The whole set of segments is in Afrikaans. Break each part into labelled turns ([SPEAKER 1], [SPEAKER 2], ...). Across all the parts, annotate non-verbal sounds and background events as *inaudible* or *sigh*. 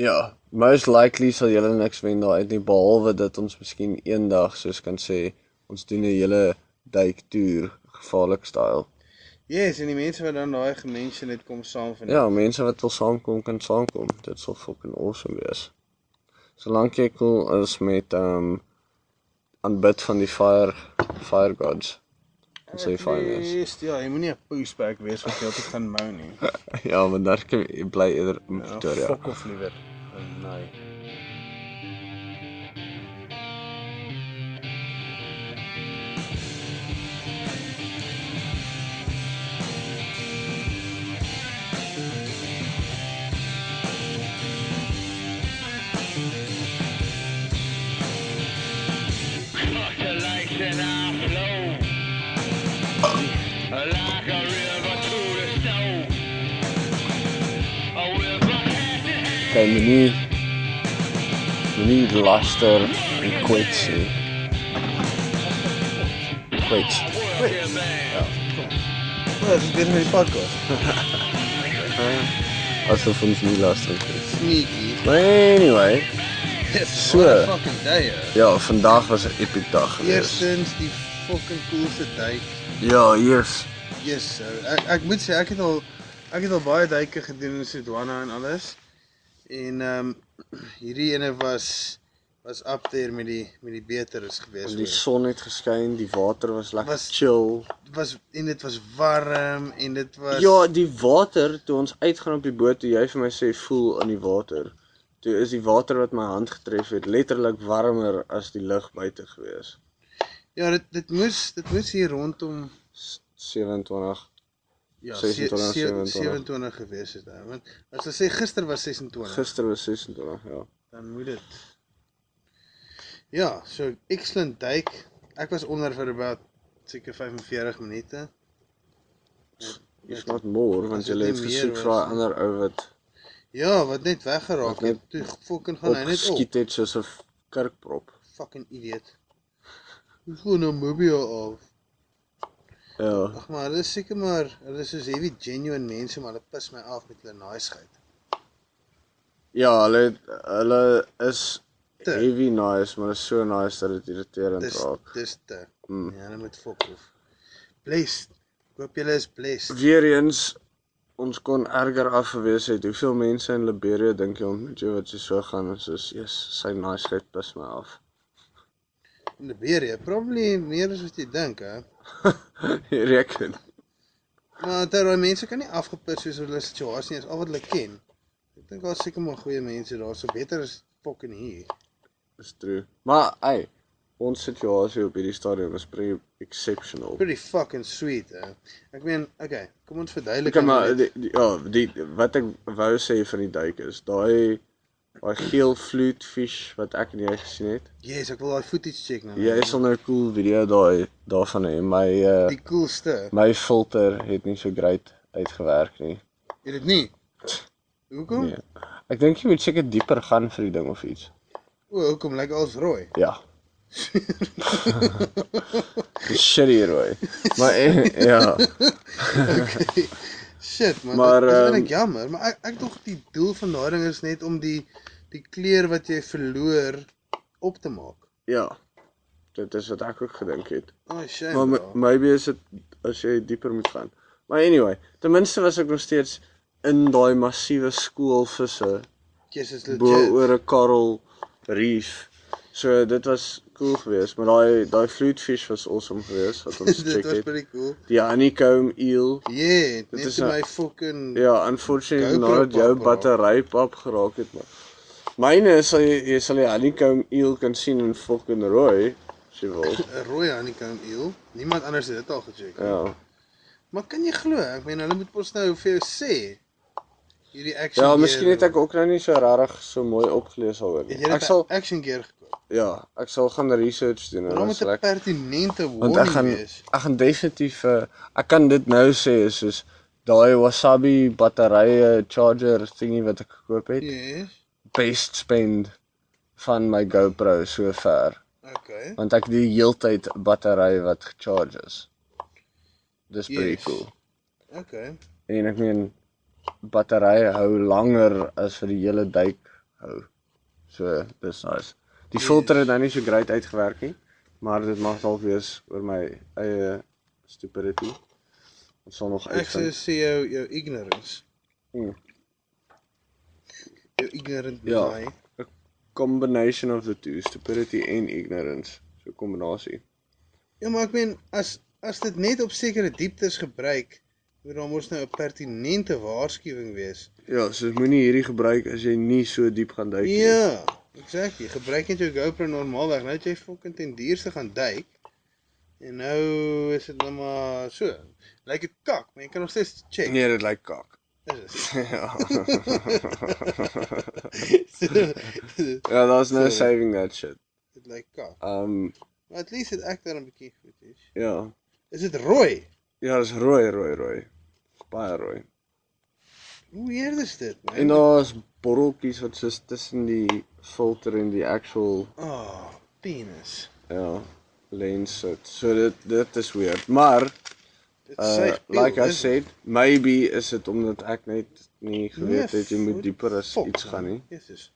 [SPEAKER 1] Ja, most likely sal julle niks wen daaruit nie behalwe dat ons miskien eendag soos kan sê ons doen 'n hele duiktoer gevaarlik styl.
[SPEAKER 2] Yes, en die mense wat dan daai gemense net kom saam van.
[SPEAKER 1] Ja, mense wat wil saamkom kan saamkom. Dit sal fucking awesome wees. Solank jy cool is met ehm um, aanbid van die fire fire gods. Ons sê fine is.
[SPEAKER 2] Yes, ja, jy moenie 'n pushback wees wat jy altyd gaan mou
[SPEAKER 1] *laughs*
[SPEAKER 2] nie.
[SPEAKER 1] Ja, want daar kan jy bly eerder in
[SPEAKER 2] Eh. Ja,
[SPEAKER 1] Pretoria.
[SPEAKER 2] Fuck off liewer. Oh, nee.
[SPEAKER 3] Fuck the lights and I flow. Like a river to the snow. A river past the hand.
[SPEAKER 1] Kan jy nie nie laster en kwets nie. Kwets.
[SPEAKER 3] Work your man.
[SPEAKER 2] Wat Ja, is dit met die podcast?
[SPEAKER 1] Asof ons nie laster is.
[SPEAKER 2] Sneaky.
[SPEAKER 1] Maar anyway,
[SPEAKER 2] Yes,
[SPEAKER 1] So.
[SPEAKER 2] what a fucking day. hè.
[SPEAKER 1] ja, vandag was 'n epic dag geweest.
[SPEAKER 2] Eerstens die fucking coolste duik.
[SPEAKER 1] Ja, eers.
[SPEAKER 2] Yes, ou. ek ek moet sê ek het al ek het al baie duike gedoen in Sodwana en alles. En ehm um, hierdie ene was was up there met die met die beteres gewees.
[SPEAKER 1] Die
[SPEAKER 2] hoor.
[SPEAKER 1] son het geskyn, die water was lekker
[SPEAKER 2] eh, Was-
[SPEAKER 1] chill.
[SPEAKER 2] Dit was en dit was warm en dit was
[SPEAKER 1] Ja, die water toe ons uitgaan op die boot, toe jy vir my sê voel aan die water. Toe is die water wat my hand getref het letterlik warmer as die lug buite gewees.
[SPEAKER 2] ja dit dit moes dit moes hier rondom
[SPEAKER 1] S- 27
[SPEAKER 2] ja
[SPEAKER 1] 26, 27.
[SPEAKER 2] 27 27 gewees het. Ou. Want as hulle sê gister was 26,
[SPEAKER 1] Gister was 26, ja.
[SPEAKER 2] dan moet dit Ja, so excellent duik. Ek was onder vir about seker 45 minute.
[SPEAKER 1] Dis not more want
[SPEAKER 2] as dit nou
[SPEAKER 1] jy het
[SPEAKER 2] nie meer
[SPEAKER 1] gesoek
[SPEAKER 2] was
[SPEAKER 1] vir 'n
[SPEAKER 2] nie.
[SPEAKER 1] ander ou wat
[SPEAKER 2] Ja, wat net weggeraak
[SPEAKER 1] Wat net
[SPEAKER 2] het. Toe fucking gaan hy net op.
[SPEAKER 1] opgeskiet het soos 'n f- kurkprop.
[SPEAKER 2] Fucking idiot. Hoe gaan nou Mobio af?
[SPEAKER 1] Ja,
[SPEAKER 2] Ag maar, hulle is seker maar hulle is soos heavy genuine mense, maar hulle pis my af met hulle naaiskheid.
[SPEAKER 1] ja, hulle het, hulle is
[SPEAKER 2] Te.
[SPEAKER 1] heavy nice, maar is so nice dat dit irriterend
[SPEAKER 2] Dis
[SPEAKER 1] raak.
[SPEAKER 2] dis te.
[SPEAKER 1] Mm.
[SPEAKER 2] Ja, hulle moet fok of. Blessed. Ek hoop julle is blessed.
[SPEAKER 1] Weereens ons kon erger af gewees het. Hoeveel mense in Liberia dink jy ontmoet jy wat so so gaan en soos, "Jesus, sy nice geit pis my af." *laughs*
[SPEAKER 2] In die beere, probably meer as wat jy dink, hè.
[SPEAKER 1] Jy Reken.
[SPEAKER 2] Maar terwyl mense kan nie afgepis wees oor hulle situasie nie, is al wat hulle ken. Ek dink daar's seker maar goeie mense daar, so beter as fucking hier.
[SPEAKER 1] Dis true. Maar hey, ons situasie op hierdie stadium is pretty exceptional.
[SPEAKER 2] Pretty fucking sweet, hè. Ek meen, okay, kom ons verduidelik nou
[SPEAKER 1] Kyk maar
[SPEAKER 2] aan
[SPEAKER 1] die, die, ja, die wat ek wou sê van die duik is daai daai geel vloedvis wat ek en jy gesien het.
[SPEAKER 2] Yes, ek wil daai footage check nou.
[SPEAKER 1] Jy sal nou 'n cool video daai daarvan hê. My uh,
[SPEAKER 2] die coolste.
[SPEAKER 1] my filter het nie so great uitgewerk nie.
[SPEAKER 2] Jy dit nie. Hoekom?
[SPEAKER 1] Nee. Ek dink jy moet seker dieper gaan vir die ding of iets.
[SPEAKER 2] O, hoekom lyk alles rooi?
[SPEAKER 1] Ja. *laughs* Dis shitty rooi. Maar eh, ja,
[SPEAKER 2] Shit man,
[SPEAKER 1] Maar,
[SPEAKER 2] maar, dit is
[SPEAKER 1] ehm,
[SPEAKER 2] eintlik jammer, maar ek ek dink die doel van daai ding is net om die die kleur wat jy verloor op te maak.
[SPEAKER 1] ja. Dit is wat ek ook gedink het.
[SPEAKER 2] Oh, shame.
[SPEAKER 1] Maar
[SPEAKER 2] bro.
[SPEAKER 1] m- maybe is dit as jy dieper moet gaan. Maar anyway, ten minste was ek nog steeds in daai massiewe skoolvisse
[SPEAKER 2] Jesus is
[SPEAKER 1] bo
[SPEAKER 2] legit. *laughs*
[SPEAKER 1] oor 'n coral reef. So dit was cool geweest, maar daai daai flutefish was awesome geweest wat ons
[SPEAKER 2] *laughs* Dit
[SPEAKER 1] check
[SPEAKER 2] was
[SPEAKER 1] het.
[SPEAKER 2] pretty cool.
[SPEAKER 1] Die honeycomb eel.
[SPEAKER 2] Yeah,
[SPEAKER 1] Dit
[SPEAKER 2] net
[SPEAKER 1] is
[SPEAKER 2] so
[SPEAKER 1] nou-
[SPEAKER 2] my fucking
[SPEAKER 1] Ja, unfortunately
[SPEAKER 2] GoPro
[SPEAKER 1] nadat jou
[SPEAKER 2] pap raak.
[SPEAKER 1] battery pap geraak het, maar myne is sal jy, jy sal die honeycomb eel kan sien in fucking rooi, as jy
[SPEAKER 2] *laughs*
[SPEAKER 1] wil.
[SPEAKER 2] rooi honeycomb eel. Niemand anders het dit al gecheck.
[SPEAKER 1] Ja.
[SPEAKER 2] Maar kan jy glo? Ek meen hulle moet mos nou vir jou sê hierdie action
[SPEAKER 1] Ja,
[SPEAKER 2] gear-
[SPEAKER 1] miskien het ek ook nou nie so regtig so mooi opgelees daaroor nie.
[SPEAKER 2] het jy
[SPEAKER 1] Ek
[SPEAKER 2] dit
[SPEAKER 1] sal
[SPEAKER 2] action gear gekoop.
[SPEAKER 1] ja, ek sal gaan research doen en
[SPEAKER 2] Maar
[SPEAKER 1] dan
[SPEAKER 2] moet 'n
[SPEAKER 1] sal ek
[SPEAKER 2] pertinente
[SPEAKER 1] want ek
[SPEAKER 2] warning
[SPEAKER 1] gaan
[SPEAKER 2] wees.
[SPEAKER 1] ek gaan definitief uh, ek kan dit nou sê is soos daai Wasabi batterye charger dingie wat ek gekoop het,
[SPEAKER 2] Yes.
[SPEAKER 1] best spend van my GoPro so ver,
[SPEAKER 2] Okay.
[SPEAKER 1] want ek die heeltyd 'n battery wat gecharge is. Dis pretty
[SPEAKER 2] Yes.
[SPEAKER 1] cool.
[SPEAKER 2] Okay.
[SPEAKER 1] En ek meen batterye hou langer as vir die hele duik hou. So, dis nice. Die filter het nou nie so great uitgewerk nie, maar dit mag dalk wees oor my eie stupidity. Ons sal nog
[SPEAKER 2] Ek sê
[SPEAKER 1] uitvind.
[SPEAKER 2] sê jou jou ignorance.
[SPEAKER 1] Hmm.
[SPEAKER 2] Jou ignorant
[SPEAKER 1] Ja.
[SPEAKER 2] braai.
[SPEAKER 1] Combination of the two, stupidity en ignorance. So 'n kombinasie.
[SPEAKER 2] Ja, maar ek meen as as dit net op sekere dieptes gebruik, moet daar mos nou 'n pertinente waarskuwing wees.
[SPEAKER 1] Ja, so moenie hierdie gebruik as jy nie so diep gaan duik nie.
[SPEAKER 2] Ja, exactly. Gebruik net jou GoPro normaalweg. Nou het jy fucking ten duurste gaan duik. En nou is dit nou maar so. Lyk dit kak, maar jy kan nog steeds check.
[SPEAKER 1] Nee, dit lyk kak.
[SPEAKER 2] Is
[SPEAKER 1] ja.
[SPEAKER 2] dit?
[SPEAKER 1] *laughs*
[SPEAKER 2] *laughs*
[SPEAKER 1] ja, daar's no
[SPEAKER 2] Sorry.
[SPEAKER 1] saving that shit.
[SPEAKER 2] Dit lyk kak.
[SPEAKER 1] Um
[SPEAKER 2] Maar at least het ek daar 'n bietjie goed is.
[SPEAKER 1] ja.
[SPEAKER 2] Is dit rooi?
[SPEAKER 1] Ja, dis rooi, rooi, rooi. Baie rooi.
[SPEAKER 2] Hoe weird is dit, man?
[SPEAKER 1] En daar's borreltjies wat soos tussen die filter en die actual
[SPEAKER 2] Oh, penis.
[SPEAKER 1] ja, lens sit. So dit dit is weird. Maar
[SPEAKER 2] Dit
[SPEAKER 1] uh,
[SPEAKER 2] suig pil,
[SPEAKER 1] like I
[SPEAKER 2] dis-
[SPEAKER 1] said, maybe is dit omdat ek net nie geweet
[SPEAKER 2] Nee,
[SPEAKER 1] het jy moet
[SPEAKER 2] what
[SPEAKER 1] dieper as
[SPEAKER 2] fuck,
[SPEAKER 1] iets
[SPEAKER 2] man.
[SPEAKER 1] gaan nie.
[SPEAKER 2] Jesus.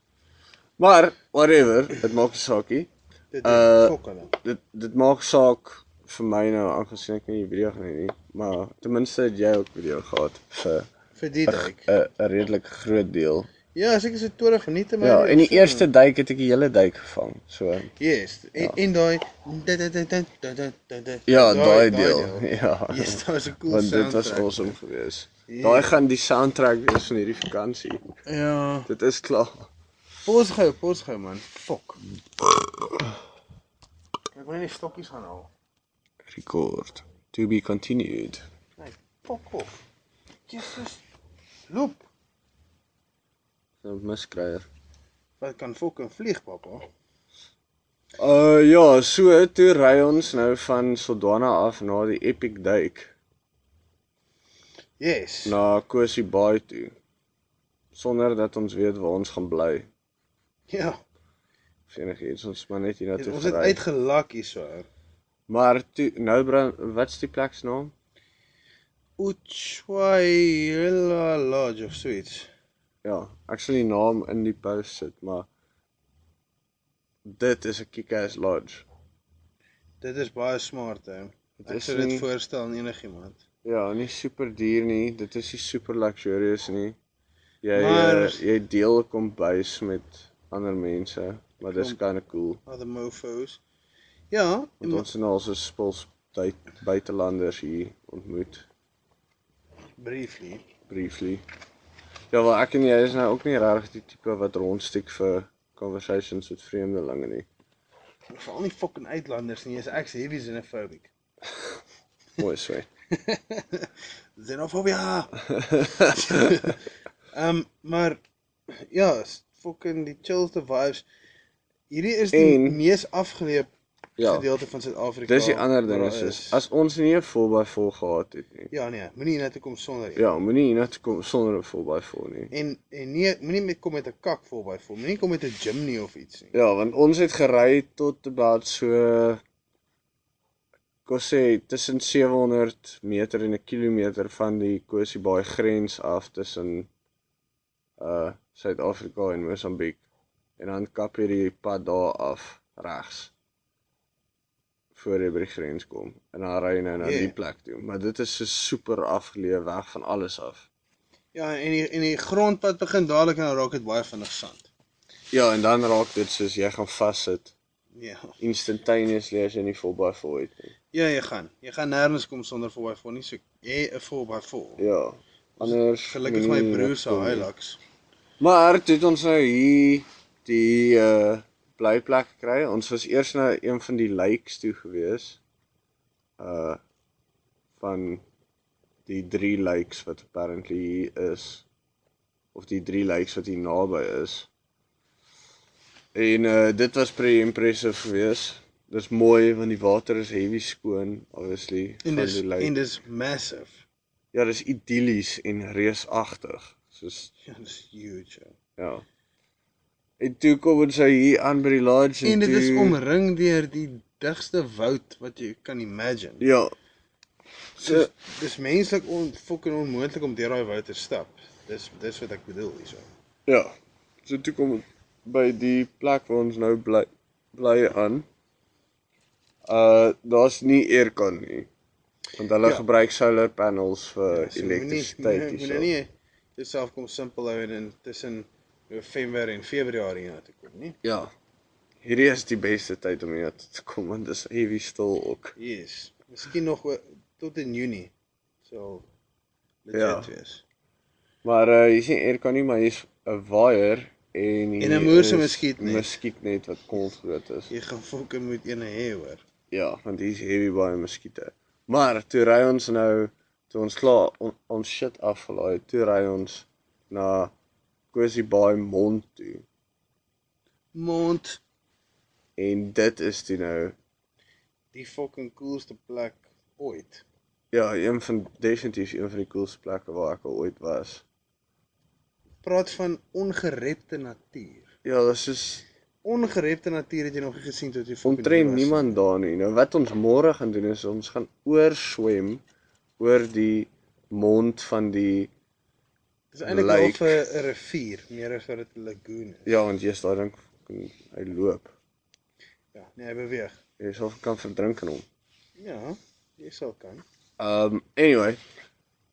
[SPEAKER 1] Maar whatever, dit maak nie saak nie.
[SPEAKER 2] Dit
[SPEAKER 1] Uh,
[SPEAKER 2] is fok hulle.
[SPEAKER 1] Dit dit maak saak vir my nou aangesien ek nie die video gaan hê nie, maar ten minste het jy ook video gehad vir 'n-
[SPEAKER 2] Vir die duik.
[SPEAKER 1] 'n 'n redelik groot deel.
[SPEAKER 2] Ja, seker so 20 minute maar.
[SPEAKER 1] Ja,
[SPEAKER 2] dit
[SPEAKER 1] en die
[SPEAKER 2] so-
[SPEAKER 1] eerste duik het ek die hele duik gevang. So
[SPEAKER 2] Yes. En, en daai da- da- da- da- da- da- da- da-
[SPEAKER 1] ja, daai deel. *laughs* Ja.
[SPEAKER 2] Yes, daar is 'n cool
[SPEAKER 1] Want dit was
[SPEAKER 2] soundtrack.
[SPEAKER 1] awesome geweest.
[SPEAKER 2] Ja.
[SPEAKER 1] Daai gaan die soundtrack wees van hierdie vakansie.
[SPEAKER 2] Ja.
[SPEAKER 1] Dit is klaar.
[SPEAKER 2] Pos gou, pos gou man. Fok. Ek wil nie stokkies gaan haal.
[SPEAKER 1] Record. To be continued.
[SPEAKER 2] Nee, fok off. Jesus. Loop.
[SPEAKER 1] So miskryer.
[SPEAKER 2] Wat kan fucking vlieg, pappa?
[SPEAKER 1] Uh ja, so toe ry ons nou van Saldanha af na die Epic Duik
[SPEAKER 2] Yes.
[SPEAKER 1] na Kosi Bay toe. Sonder dat ons weet waar ons gaan bly
[SPEAKER 2] Ja.
[SPEAKER 1] of enigiets, ons is maar net hiernatoe
[SPEAKER 2] Ons het
[SPEAKER 1] gery.
[SPEAKER 2] uitgelak hierso. ou.
[SPEAKER 1] Maar toe nou brand, wat's die plek se naam?
[SPEAKER 2] Ushuaia Lodge of Sweets.
[SPEAKER 1] Ja, ek sal die naam in die post sit, maar dit is 'n kick-ass lodge.
[SPEAKER 2] Dit is baie smart hè.
[SPEAKER 1] Dit
[SPEAKER 2] Ek
[SPEAKER 1] is
[SPEAKER 2] sou dit
[SPEAKER 1] nie-
[SPEAKER 2] voorstel aan enigiemand.
[SPEAKER 1] Ja, nie super duur nie, dit is nie super luxurious nie. Jy maar...
[SPEAKER 2] Maar-
[SPEAKER 1] jy deel 'n kombuis met ander mense, maar dis kind of cool.
[SPEAKER 2] Other mofos. Ja,
[SPEAKER 1] Want
[SPEAKER 2] ma-
[SPEAKER 1] ons het nou al so spils tyd buitelanders hier ontmoet
[SPEAKER 2] briefly.
[SPEAKER 1] briefly. Ja, maar ek en jy is nou ook nie regtig die tipe wat rondsteek vir conversations met vreemdelinge nie.
[SPEAKER 2] Veral nie fucking uitlanders nie, is ek se hierdie xenophobic.
[SPEAKER 1] Mooi so. *laughs*
[SPEAKER 2] Xenofobia. Ehm um, maar ja, is fucking die chillste vibes. Hierdie is die
[SPEAKER 1] En-
[SPEAKER 2] mees afgeleë
[SPEAKER 1] Ja.
[SPEAKER 2] gedeelte van Suid-Afrika.
[SPEAKER 1] Dis die ander
[SPEAKER 2] waar
[SPEAKER 1] ding is,
[SPEAKER 2] Ja, daar
[SPEAKER 1] is as ons nie 'n voorbyvol gehad het nie.
[SPEAKER 2] Ja nee, moenie net kom sonder nie.
[SPEAKER 1] Ja, moenie hiernatoe kom sonder 'n voorbyvol nie.
[SPEAKER 2] En en nee, moenie met kom met 'n kak vol by vol. Moenie kom met 'n gym nie of iets nie.
[SPEAKER 1] Ja, want ons het gery tot about so kos sê tussen 700 meter en 'n kilometer van die Kosibaai grens af tussen uh Suid-Afrika en Mosambiek. En dan kap jy die pad daar af regs voor jy by die grens kom en dan ry jy nou na
[SPEAKER 2] Ja.
[SPEAKER 1] yeah. die plek toe. Maar dit is so super afgeleë weg van alles af.
[SPEAKER 2] Ja, en die, en die grondpad begin dadelik en dan raak dit baie vinnig sand.
[SPEAKER 1] Ja, en dan raak dit soos jy gaan vassit
[SPEAKER 2] Ja.
[SPEAKER 1] instantaneously as jy nie volby vol het nie.
[SPEAKER 2] Ja, jy gaan. Jy gaan nêrens kom sonder vol by vol nie. So jy 'n vol by vol.
[SPEAKER 1] Ja. Anders
[SPEAKER 2] Gelukkig is my
[SPEAKER 1] moenie
[SPEAKER 2] broer se
[SPEAKER 1] wegkom nie.
[SPEAKER 2] Hilux.
[SPEAKER 1] Maar toe het ons nou hier die uh blyplek gekry. Ons was eers na een van die lakes toe gewees. Uh van die drie lakes wat apparently hier is of die drie lakes wat hier naby is. En uh dit was pretty impressive geweest. Dis mooi want die water is heavy skoon obviously
[SPEAKER 2] En dis
[SPEAKER 1] die lake.
[SPEAKER 2] en dis massive.
[SPEAKER 1] Ja, dis idillies en reusagtig. Soos
[SPEAKER 2] Ja, dis huge. ja.
[SPEAKER 1] Ja. En toe kom ons nou hier aan by die lodge
[SPEAKER 2] En dit is
[SPEAKER 1] toe-
[SPEAKER 2] omring deur die digste woud wat jy kan imagine.
[SPEAKER 1] Ja. So
[SPEAKER 2] So dis menslik on fucking Oh, onmoontlik om deur daai woud te stap. Dis dis wat ek bedoel hierso.
[SPEAKER 1] ja. So toe kom by die plek waar ons nou bly bly aan. Uh daar's nie aircon nie. Want hulle
[SPEAKER 2] Ja.
[SPEAKER 1] gebruik solar panels vir
[SPEAKER 2] So
[SPEAKER 1] elektrisiteit
[SPEAKER 2] Moenie
[SPEAKER 1] hierso.
[SPEAKER 2] moenie- moenie jouself kom simpel hou en in- tussen November en Februarie hiernatoe kom nie.
[SPEAKER 1] Ja. Hierdie is die beste tyd om hier te kom want dit is heavy stil ook.
[SPEAKER 2] Yes. Miskien nog oor- tot in Junie. So legit
[SPEAKER 1] Ja.
[SPEAKER 2] ja. wees.
[SPEAKER 1] Maar uh hier's nie aircon nie, maar hier's 'n waaier en
[SPEAKER 2] En 'n
[SPEAKER 1] hier
[SPEAKER 2] moerse
[SPEAKER 1] is
[SPEAKER 2] muskietnet.
[SPEAKER 1] Muskietnet wat kolgroot is.
[SPEAKER 2] Jy gaan fucking moet een hê hoor.
[SPEAKER 1] Ja, want hier's heavy baie muskiete. Maar toe ry ons nou, toe ons klaar on, ons shit afgelaai, het, toe ry ons na Kosie Baai Mond toe.
[SPEAKER 2] Mond,
[SPEAKER 1] En dit is toe nou
[SPEAKER 2] die fucking coolste plek ooit.
[SPEAKER 1] ja, een van definitief een van die coolste plekke waar ek al ooit was.
[SPEAKER 2] Praat van ongerepte natuur.
[SPEAKER 1] Ja, dis is
[SPEAKER 2] Ongerepte natuur het jy nog nie gesien tot jy fucking hier
[SPEAKER 1] omtrent
[SPEAKER 2] was.
[SPEAKER 1] niemand daar nie. Nou wat ons môre gaan doen is ons gaan oorswem oor die mond van die
[SPEAKER 2] Dit is eintlik al
[SPEAKER 1] lyk.
[SPEAKER 2] vir 'n rivier, meer as wat dit 'n lagoon is.
[SPEAKER 1] ja, want jy's daar dink hy loop.
[SPEAKER 2] Ja, nee, hy beweeg.
[SPEAKER 1] Jy sal kan verdrink in hom.
[SPEAKER 2] Ja, jy sal kan.
[SPEAKER 1] Um anyway,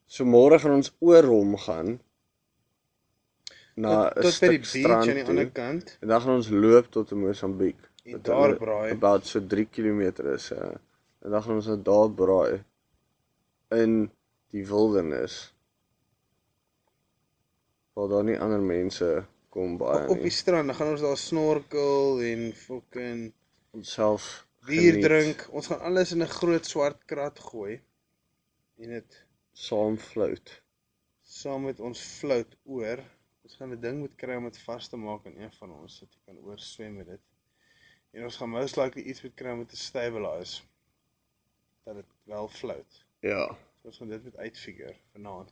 [SPEAKER 1] so môre gaan ons oor hom gaan na
[SPEAKER 2] Tot-
[SPEAKER 1] 'n
[SPEAKER 2] tot by die
[SPEAKER 1] stuk
[SPEAKER 2] beach
[SPEAKER 1] strand
[SPEAKER 2] aan die
[SPEAKER 1] toe.
[SPEAKER 2] ander kant.
[SPEAKER 1] En dan gaan ons loop tot in Mosambiek.
[SPEAKER 2] En
[SPEAKER 1] wat
[SPEAKER 2] daar
[SPEAKER 1] hulle
[SPEAKER 2] braai.
[SPEAKER 1] About so 3 km is. Uh, en dan gaan ons nou daar braai in die wildernis. Waar daar nie ander mense kom baie
[SPEAKER 2] Op die
[SPEAKER 1] nie.
[SPEAKER 2] strand, dan gaan ons daar snorkel en fucking
[SPEAKER 1] Ons self
[SPEAKER 2] bier
[SPEAKER 1] geniet,
[SPEAKER 2] drink. Ons gaan alles in 'n groot swart krat gooi en dit
[SPEAKER 1] saam float.
[SPEAKER 2] saam met ons float oor. Ons gaan 'n ding moet kry om dit vas te maak aan een van ons sodat jy kan oorswem met dit. En ons gaan most likely iets moet kry om dit te stabilise dat dit wel float.
[SPEAKER 1] Ja,
[SPEAKER 2] So ons gaan dit moet uitfigure vanaand.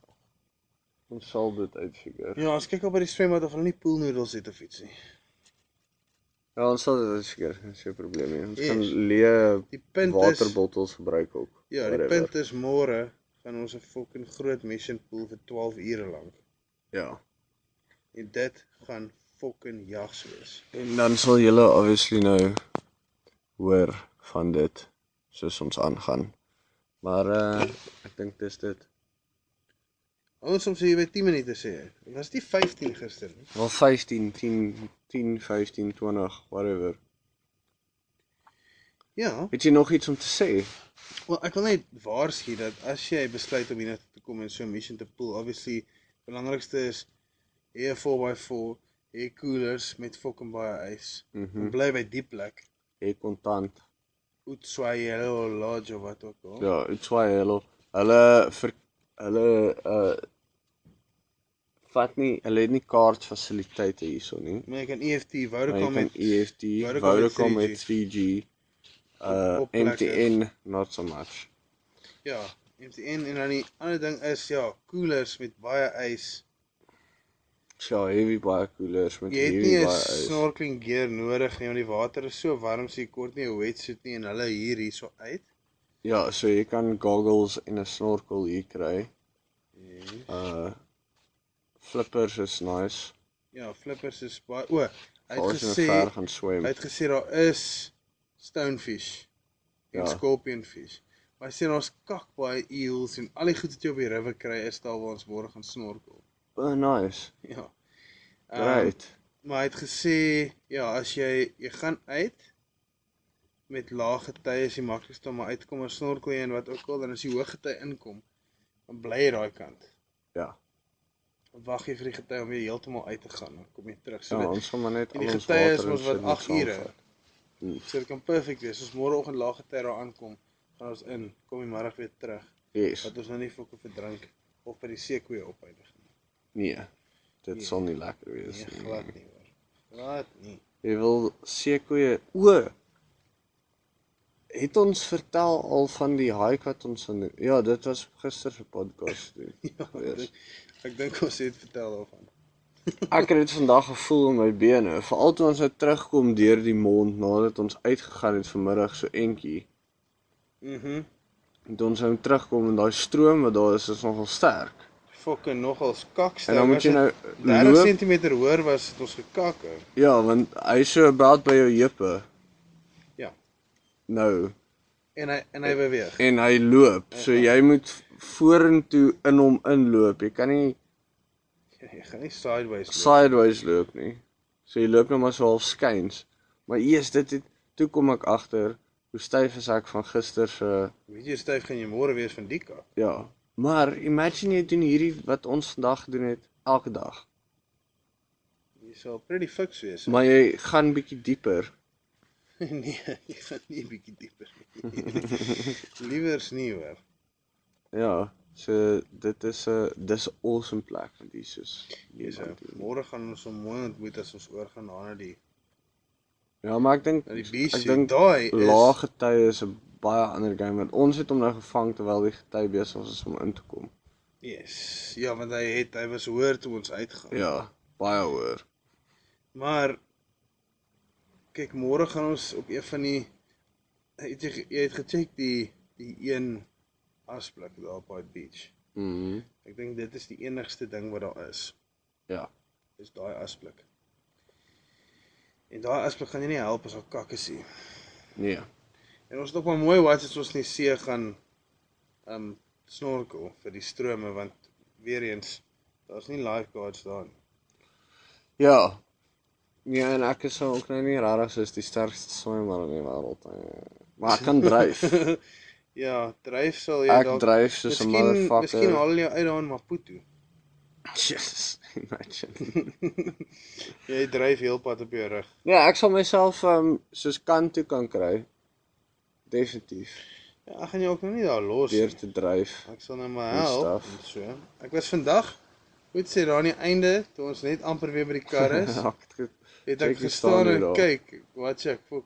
[SPEAKER 1] ons sal dit uitfigure.
[SPEAKER 2] Ja, ons kyk al by die swembad of hulle nie poolnoedels het of iets nie.
[SPEAKER 1] Ja, ons sal dit seker, dis geen probleem nie. Ons yes.
[SPEAKER 2] Yes.
[SPEAKER 1] gaan leë
[SPEAKER 2] Die punt is
[SPEAKER 1] waterbottels gebruik ook.
[SPEAKER 2] Ja, die
[SPEAKER 1] whatever.
[SPEAKER 2] punt is môre gaan ons 'n fucking groot mission pool vir 12 ure lank.
[SPEAKER 1] Ja.
[SPEAKER 2] En dit gaan fucking jags wees.
[SPEAKER 1] En dan sal julle obviously nou hoor van dit soos ons aangaan. Maar uh ek dink dis dit.
[SPEAKER 2] Ons soms hier by 10 minute sê. hy. Dit was die 15 gister. nie?
[SPEAKER 1] Wel 15, 10, 10, 15, 20, whatever.
[SPEAKER 2] Ja,
[SPEAKER 1] Het jy nog iets om te sê?
[SPEAKER 2] wel ek wil net waarsku dat as jy besluit om hiernatoe te kom en so 'n mission te pool, obviously belangrikste is hê 'n 4x4, hê koelers met fucking baie ys.
[SPEAKER 1] Mhm.
[SPEAKER 2] En bly by die plek.
[SPEAKER 1] Ek kontant.
[SPEAKER 2] Utswayelo lodge of wat ook al.
[SPEAKER 1] Ja, dit's baie hulle hulle vir hulle uh vat nie, hulle het nie kaartfasiliteite hierso nie.
[SPEAKER 2] Maar jy kan EFT,
[SPEAKER 1] Maar Ja, jy
[SPEAKER 2] Vodacom
[SPEAKER 1] kan
[SPEAKER 2] met
[SPEAKER 1] EFT,
[SPEAKER 2] Vodacom met
[SPEAKER 1] Vodacom
[SPEAKER 2] 3G.
[SPEAKER 1] met 3G, uh
[SPEAKER 2] Op plekke.
[SPEAKER 1] MTN not so much.
[SPEAKER 2] Ja, MTN en dan die ander ding is ja, koelers met baie ys.
[SPEAKER 1] Ja, heavy baie koelers met
[SPEAKER 2] Jy het
[SPEAKER 1] heavy
[SPEAKER 2] nie 'n
[SPEAKER 1] baie ys.
[SPEAKER 2] snorkeling gear nodig nie want die water is so warm so jy kort nie 'n wetsuit nie en hulle hier hierso uit.
[SPEAKER 1] Ja, so jy kan goggles en 'n snorkel hier kry. Uh flippers is nice.
[SPEAKER 2] Ja, flippers is baie o, hy het
[SPEAKER 1] As
[SPEAKER 2] gesê
[SPEAKER 1] jy ver gaan
[SPEAKER 2] hy
[SPEAKER 1] swem.
[SPEAKER 2] het gesê daar is stonefish en
[SPEAKER 1] Ja.
[SPEAKER 2] ja. scorpionfish. Maar hy sê daar's kak baie eels en al die goed wat jy op die river kry is daar waar ons môre gaan snorkel. *laughs*
[SPEAKER 1] Oh, nice.
[SPEAKER 2] Ja. Ehm,
[SPEAKER 1] Right.
[SPEAKER 2] Maar hy het gesê, ja, as jy jy gaan uit met lae getye is die maklikste om maar uit te kom en snorkel jy en wat ook al, dan as die hoë gety inkom, dan bly jy daai kant.
[SPEAKER 1] Ja.
[SPEAKER 2] Dan wag jy vir die gety om weer heeltemal uit te gaan, dan kom jy terug.
[SPEAKER 1] Ja,
[SPEAKER 2] So dit
[SPEAKER 1] ons gaan maar net
[SPEAKER 2] en die
[SPEAKER 1] al ons
[SPEAKER 2] getye is
[SPEAKER 1] water en
[SPEAKER 2] mos
[SPEAKER 1] shit
[SPEAKER 2] wat
[SPEAKER 1] moet
[SPEAKER 2] 8 ure.
[SPEAKER 1] saamvat.
[SPEAKER 2] so dit kan perfek wees. As môreoggend lae gety daar aankom, gaan ons in, kom die middag weer terug,
[SPEAKER 1] Yes.
[SPEAKER 2] dat ons nou nie fokke verdrink of by die seekoe opeindig nie.
[SPEAKER 1] Nee. Dit sal nie lekker wees
[SPEAKER 2] Nee,
[SPEAKER 1] nie.
[SPEAKER 2] glad nie hoor. Glad nie.
[SPEAKER 1] Jy wil seekoeie o het ons vertel al van die hike wat ons aan doen? Ja, dit was gister se podcast doen.
[SPEAKER 2] *laughs* Ja,
[SPEAKER 1] Yes.
[SPEAKER 2] ek, ek dink ons het vertel daarvan.
[SPEAKER 1] Ek het dit vandag gevoel in my bene, veral toe ons nou terugkom deur die mond nadat ons uitgegaan het vanmiddag so entjie.
[SPEAKER 2] Mhm.
[SPEAKER 1] En toe ons nou terugkom en daai stroom wat daar is is nogal sterk.
[SPEAKER 2] fucking nogals kakste.
[SPEAKER 1] En dan moet je nou
[SPEAKER 2] loop...
[SPEAKER 1] loop.
[SPEAKER 2] 30 cm hoër was het ons gekak. ou.
[SPEAKER 1] Ja, want hy is so about by jou heupe.
[SPEAKER 2] Ja.
[SPEAKER 1] Nou,
[SPEAKER 2] En hy en hy beweeg. *laughs*
[SPEAKER 1] en hy loop. So jy moet vorentoe in hom inloop. Jy kan nie
[SPEAKER 2] Jy gaan nie sideways loop.
[SPEAKER 1] sideways loop nie. So jy loop nou maar so half skuins. Maar eers dit het, toe kom ek agter hoe styf is ek van gister se
[SPEAKER 2] Weet jy hoe styf gaan jy môre wees van die kak?
[SPEAKER 1] ja. Maar imagine jy doen hierdie wat ons vandag gedoen het elke dag.
[SPEAKER 2] Jy sal pretty fiks wees.
[SPEAKER 1] Maar jy gaan bietjie dieper.
[SPEAKER 2] *laughs* nee, jy gaan nie 'n bietjie dieper nie. *laughs* Liewers nie hoor.
[SPEAKER 1] Ja, so dit is 'n dis 'n awesome plek want hier soos
[SPEAKER 2] Dis môre gaan ons hom mooi ontmoet as ons oorgaan na na die
[SPEAKER 1] Ja, maar ek dink
[SPEAKER 2] na die beach.
[SPEAKER 1] ek dink
[SPEAKER 2] daai is
[SPEAKER 1] lae getye is 'n baie ander game want ons het hom nou gevang terwyl die gety besig was is om in te kom.
[SPEAKER 2] Yes. Ja, want hy het hy was hoër toe ons uitgaan.
[SPEAKER 1] Ja, baie hoor.
[SPEAKER 2] Maar kyk, môre gaan ons op een van die het jy, ge- jy het gecheck die die een asblik daar op daai beach.
[SPEAKER 1] Mhm.
[SPEAKER 2] Ek dink dit is die enigste ding wat daar is.
[SPEAKER 1] Ja.
[SPEAKER 2] Is daai asblik. En daai asblik gaan jou nie help as al kakke sien.
[SPEAKER 1] nee.
[SPEAKER 2] En ons het ook maar mooi wat as ons in die see gaan um snorkel vir die strome want weer eens daar's nie lifeguards daar nie.
[SPEAKER 1] Ja. Ja, en ek is ook nou nie regtig soos die sterkste swemmer in die wêreld nie. Maar ek kan dryf.
[SPEAKER 2] *laughs* Ja, dryf sal jy
[SPEAKER 1] Ek dryf soos 'n
[SPEAKER 2] Miskien- Miskien
[SPEAKER 1] motherfucker.
[SPEAKER 2] haal hulle jou uit daar in Maputo.
[SPEAKER 1] *laughs* Jesus, imagine.
[SPEAKER 2] Jy dryf heelpad op jou rug.
[SPEAKER 1] Ja, ek sal myself um soos kant toe kan kry. Definitief.
[SPEAKER 2] Ja, ek gaan jou ook nou nie daar los nie.
[SPEAKER 1] Deur te *laughs* dryf.
[SPEAKER 2] Ek sal nou maar
[SPEAKER 1] Goeie
[SPEAKER 2] help.
[SPEAKER 1] staf.
[SPEAKER 2] en So. Ek was vandag moet sê daar aan die einde toe ons net amper weer by die kar
[SPEAKER 1] *laughs*
[SPEAKER 2] is,
[SPEAKER 1] Ek het ge-
[SPEAKER 2] het
[SPEAKER 1] Kyk, hier
[SPEAKER 2] ek
[SPEAKER 1] staan
[SPEAKER 2] gestaan
[SPEAKER 1] hy
[SPEAKER 2] en
[SPEAKER 1] daar.
[SPEAKER 2] kyk, wat sê ek fok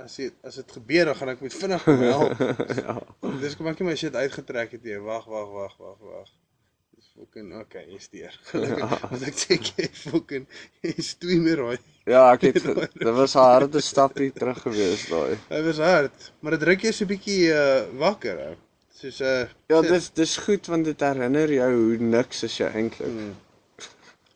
[SPEAKER 2] as dit as dit gebeur dan gaan ek moet vinnig kom help.
[SPEAKER 1] ja.
[SPEAKER 2] Dis kom ek nie my shit uitgetrek het nie. Wag, wag, wag, wag, wag. Dis fucking okay, jy's deur. Gelukkig. *laughs* Want ek
[SPEAKER 1] *laughs*
[SPEAKER 2] sê jy fucking jy's twee meer raai.
[SPEAKER 1] Ja, ek *laughs* het ge- dit was 'n harde stappie terug gewees daai.
[SPEAKER 2] Dit was hard, maar dit ruk jou so 'n bietjie uh, wakker. Ou. Soos 'n uh,
[SPEAKER 1] Ja,
[SPEAKER 2] shit.
[SPEAKER 1] dis dis goed want dit herinner jou hoe niks is jy eintlik.
[SPEAKER 2] Hmm.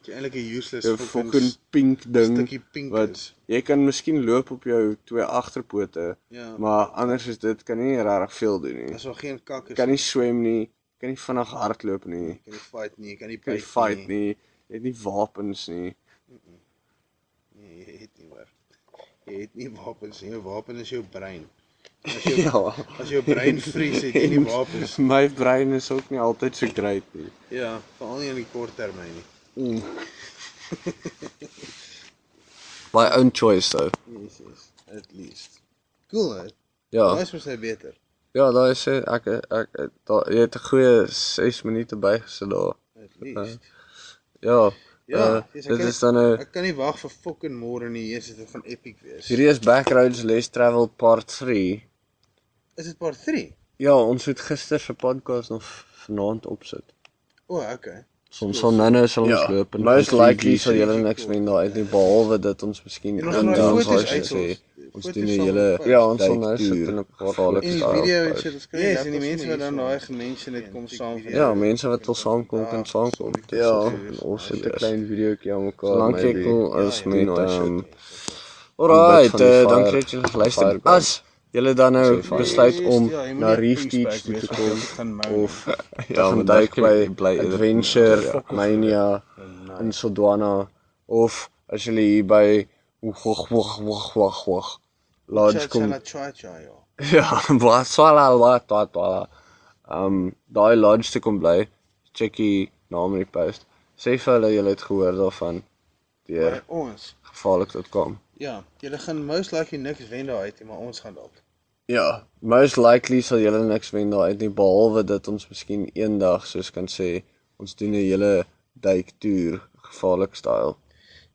[SPEAKER 2] Jy eintlik 'n useless
[SPEAKER 1] 'n
[SPEAKER 2] fucking
[SPEAKER 1] Fucking pink ding.
[SPEAKER 2] stukkie pink
[SPEAKER 1] wat-
[SPEAKER 2] is.
[SPEAKER 1] Jy kan miskien loop op jou twee agterpote,
[SPEAKER 2] Ja.
[SPEAKER 1] maar anders is dit kan jy nie regtig veel doen nie.
[SPEAKER 2] As daar geen kak is,
[SPEAKER 1] Jy kan nie swem nie, jy kan nie vinnig hardloop nie,
[SPEAKER 2] jy kan nie fight nie, jy kan nie
[SPEAKER 1] jy kan
[SPEAKER 2] play
[SPEAKER 1] nie fight nie, jy het nie wapens nie. *laughs*
[SPEAKER 2] Nee, jy het nie hoor. Jy het nie wapens nie. Jou wapen is jou brein. As jou
[SPEAKER 1] *laughs* Ja.
[SPEAKER 2] as jou brein vries het jy nie wapens.
[SPEAKER 1] My brein is ook nie altyd so great nie.
[SPEAKER 2] Ja, veral nie in die kort termyn nie.
[SPEAKER 1] My own choice though.
[SPEAKER 2] Yes, yes, at least. Cool. hè?
[SPEAKER 1] Ja.
[SPEAKER 2] Daai is mos nou beter.
[SPEAKER 1] Ja, daai sê ek ek daar jy het 'n goeie 6 minute bygesit daar.
[SPEAKER 2] At least.
[SPEAKER 1] Ja.
[SPEAKER 2] Ja,
[SPEAKER 1] eh,
[SPEAKER 2] dis, ek
[SPEAKER 1] dit
[SPEAKER 2] kan-
[SPEAKER 1] is dan 'n
[SPEAKER 2] Ek kan nie wag vir fucking môre nie. Jesus, dit gaan epic wees.
[SPEAKER 1] hierdie is Backroads Less Travel Part 3.
[SPEAKER 2] Is dit part 3?
[SPEAKER 1] Ja, ons het gister se podcast nog vanaand opsit.
[SPEAKER 2] O, oh, okay.
[SPEAKER 1] Soms sal nou-nou sal ons
[SPEAKER 4] Ja,
[SPEAKER 1] loop en
[SPEAKER 4] most
[SPEAKER 1] conclude
[SPEAKER 4] likely
[SPEAKER 1] hier sal
[SPEAKER 4] sal
[SPEAKER 1] julle
[SPEAKER 2] jy
[SPEAKER 1] niks
[SPEAKER 2] cool.
[SPEAKER 1] wen daar uit nie behalwe dat ons miskien
[SPEAKER 2] En ons
[SPEAKER 1] in
[SPEAKER 2] gaan
[SPEAKER 1] Ja, dan
[SPEAKER 2] foto's
[SPEAKER 1] sal
[SPEAKER 2] uitsel.
[SPEAKER 1] sê ons
[SPEAKER 2] Foto's
[SPEAKER 1] doen die
[SPEAKER 2] sal eh,
[SPEAKER 1] hele
[SPEAKER 2] ons-
[SPEAKER 1] ja, ons sal
[SPEAKER 4] Tyd
[SPEAKER 1] nou sit
[SPEAKER 4] duur.
[SPEAKER 1] in 'n gevaarlike
[SPEAKER 2] En die
[SPEAKER 1] style.
[SPEAKER 2] video en
[SPEAKER 1] vibe.
[SPEAKER 2] shit, ons kan
[SPEAKER 4] Yes,
[SPEAKER 2] en die mense wat dan daai gemention het kom saam vir.
[SPEAKER 1] Ja, mense wat wil saamkom kan saamkom. Dit is
[SPEAKER 4] Ja,
[SPEAKER 1] fucking
[SPEAKER 4] ons
[SPEAKER 1] awesome
[SPEAKER 4] het 'n
[SPEAKER 1] wees.
[SPEAKER 4] klein videoetjie aan mekaar.
[SPEAKER 1] Solank jy
[SPEAKER 4] maybe.
[SPEAKER 1] cool is
[SPEAKER 2] ja,
[SPEAKER 1] met
[SPEAKER 4] doen hy shit.
[SPEAKER 1] ehm
[SPEAKER 4] Bid
[SPEAKER 1] Alright,
[SPEAKER 4] van die
[SPEAKER 1] eh,
[SPEAKER 4] fire-
[SPEAKER 1] dankie dat julle geluister het.
[SPEAKER 4] fireguns.
[SPEAKER 1] As julle dan nou
[SPEAKER 2] Ja,
[SPEAKER 1] besluit om na Reef Teach toe te
[SPEAKER 2] *laughs*
[SPEAKER 1] kom
[SPEAKER 2] kom
[SPEAKER 1] of ja,
[SPEAKER 4] maar
[SPEAKER 1] gaan
[SPEAKER 4] daar
[SPEAKER 1] duik
[SPEAKER 4] kan jy
[SPEAKER 1] by
[SPEAKER 4] bly eerder-
[SPEAKER 1] Adventure
[SPEAKER 4] Ja.
[SPEAKER 1] Mania in Sodwana of as julle hier by wag wag wag wag wag lodge kom
[SPEAKER 2] Chala cha cha ja.
[SPEAKER 1] *laughs* Ja, wat swala wat wat wat. Um daai lodge te kom bly. Check die naam in die post. Sê vir hulle jy het gehoor daarvan
[SPEAKER 2] By
[SPEAKER 1] deur
[SPEAKER 2] ons.
[SPEAKER 1] gevaarlik.com.
[SPEAKER 2] Ja, julle gaan most likely niks wen daai uit, nie, maar ons gaan dalk.
[SPEAKER 1] Ja, most likely sal julle niks wen daai uit nie behalwe dat ons miskien eendag soos kan sê ons doen 'n hele duiktoer gevaarlik style.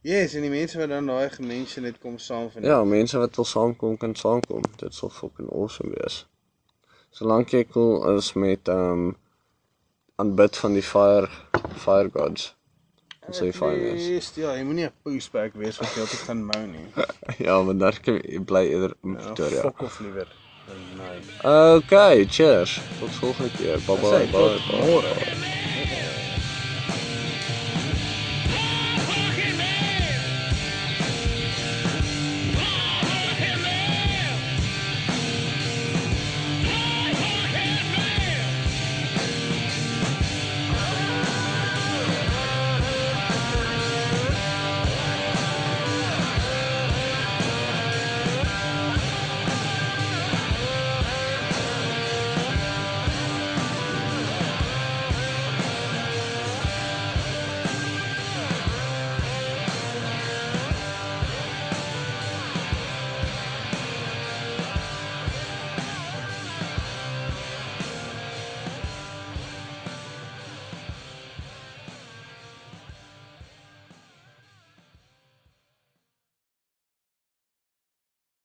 [SPEAKER 2] Yes, en die mense wat dan daai gemention het kom saam vir.
[SPEAKER 1] Ja, mense wat wil saamkom kan saamkom. Dit sal fucking awesome wees. Solank jy cool is met um aanbid van die fire fire gods. Dan sal jy fyn wees. *laughs*
[SPEAKER 2] Ja, jy moenie 'n pushback wees wat jy altyd gaan mou nie.
[SPEAKER 1] Ja, want daar kan jy bly eerder in
[SPEAKER 2] Ja,
[SPEAKER 1] Pretoria.
[SPEAKER 2] Fuck off liewer. Nee.
[SPEAKER 1] Okay, cheers. Tot volgende keer. Bye bye. bye,
[SPEAKER 2] Sê tot
[SPEAKER 1] bye.
[SPEAKER 2] môre.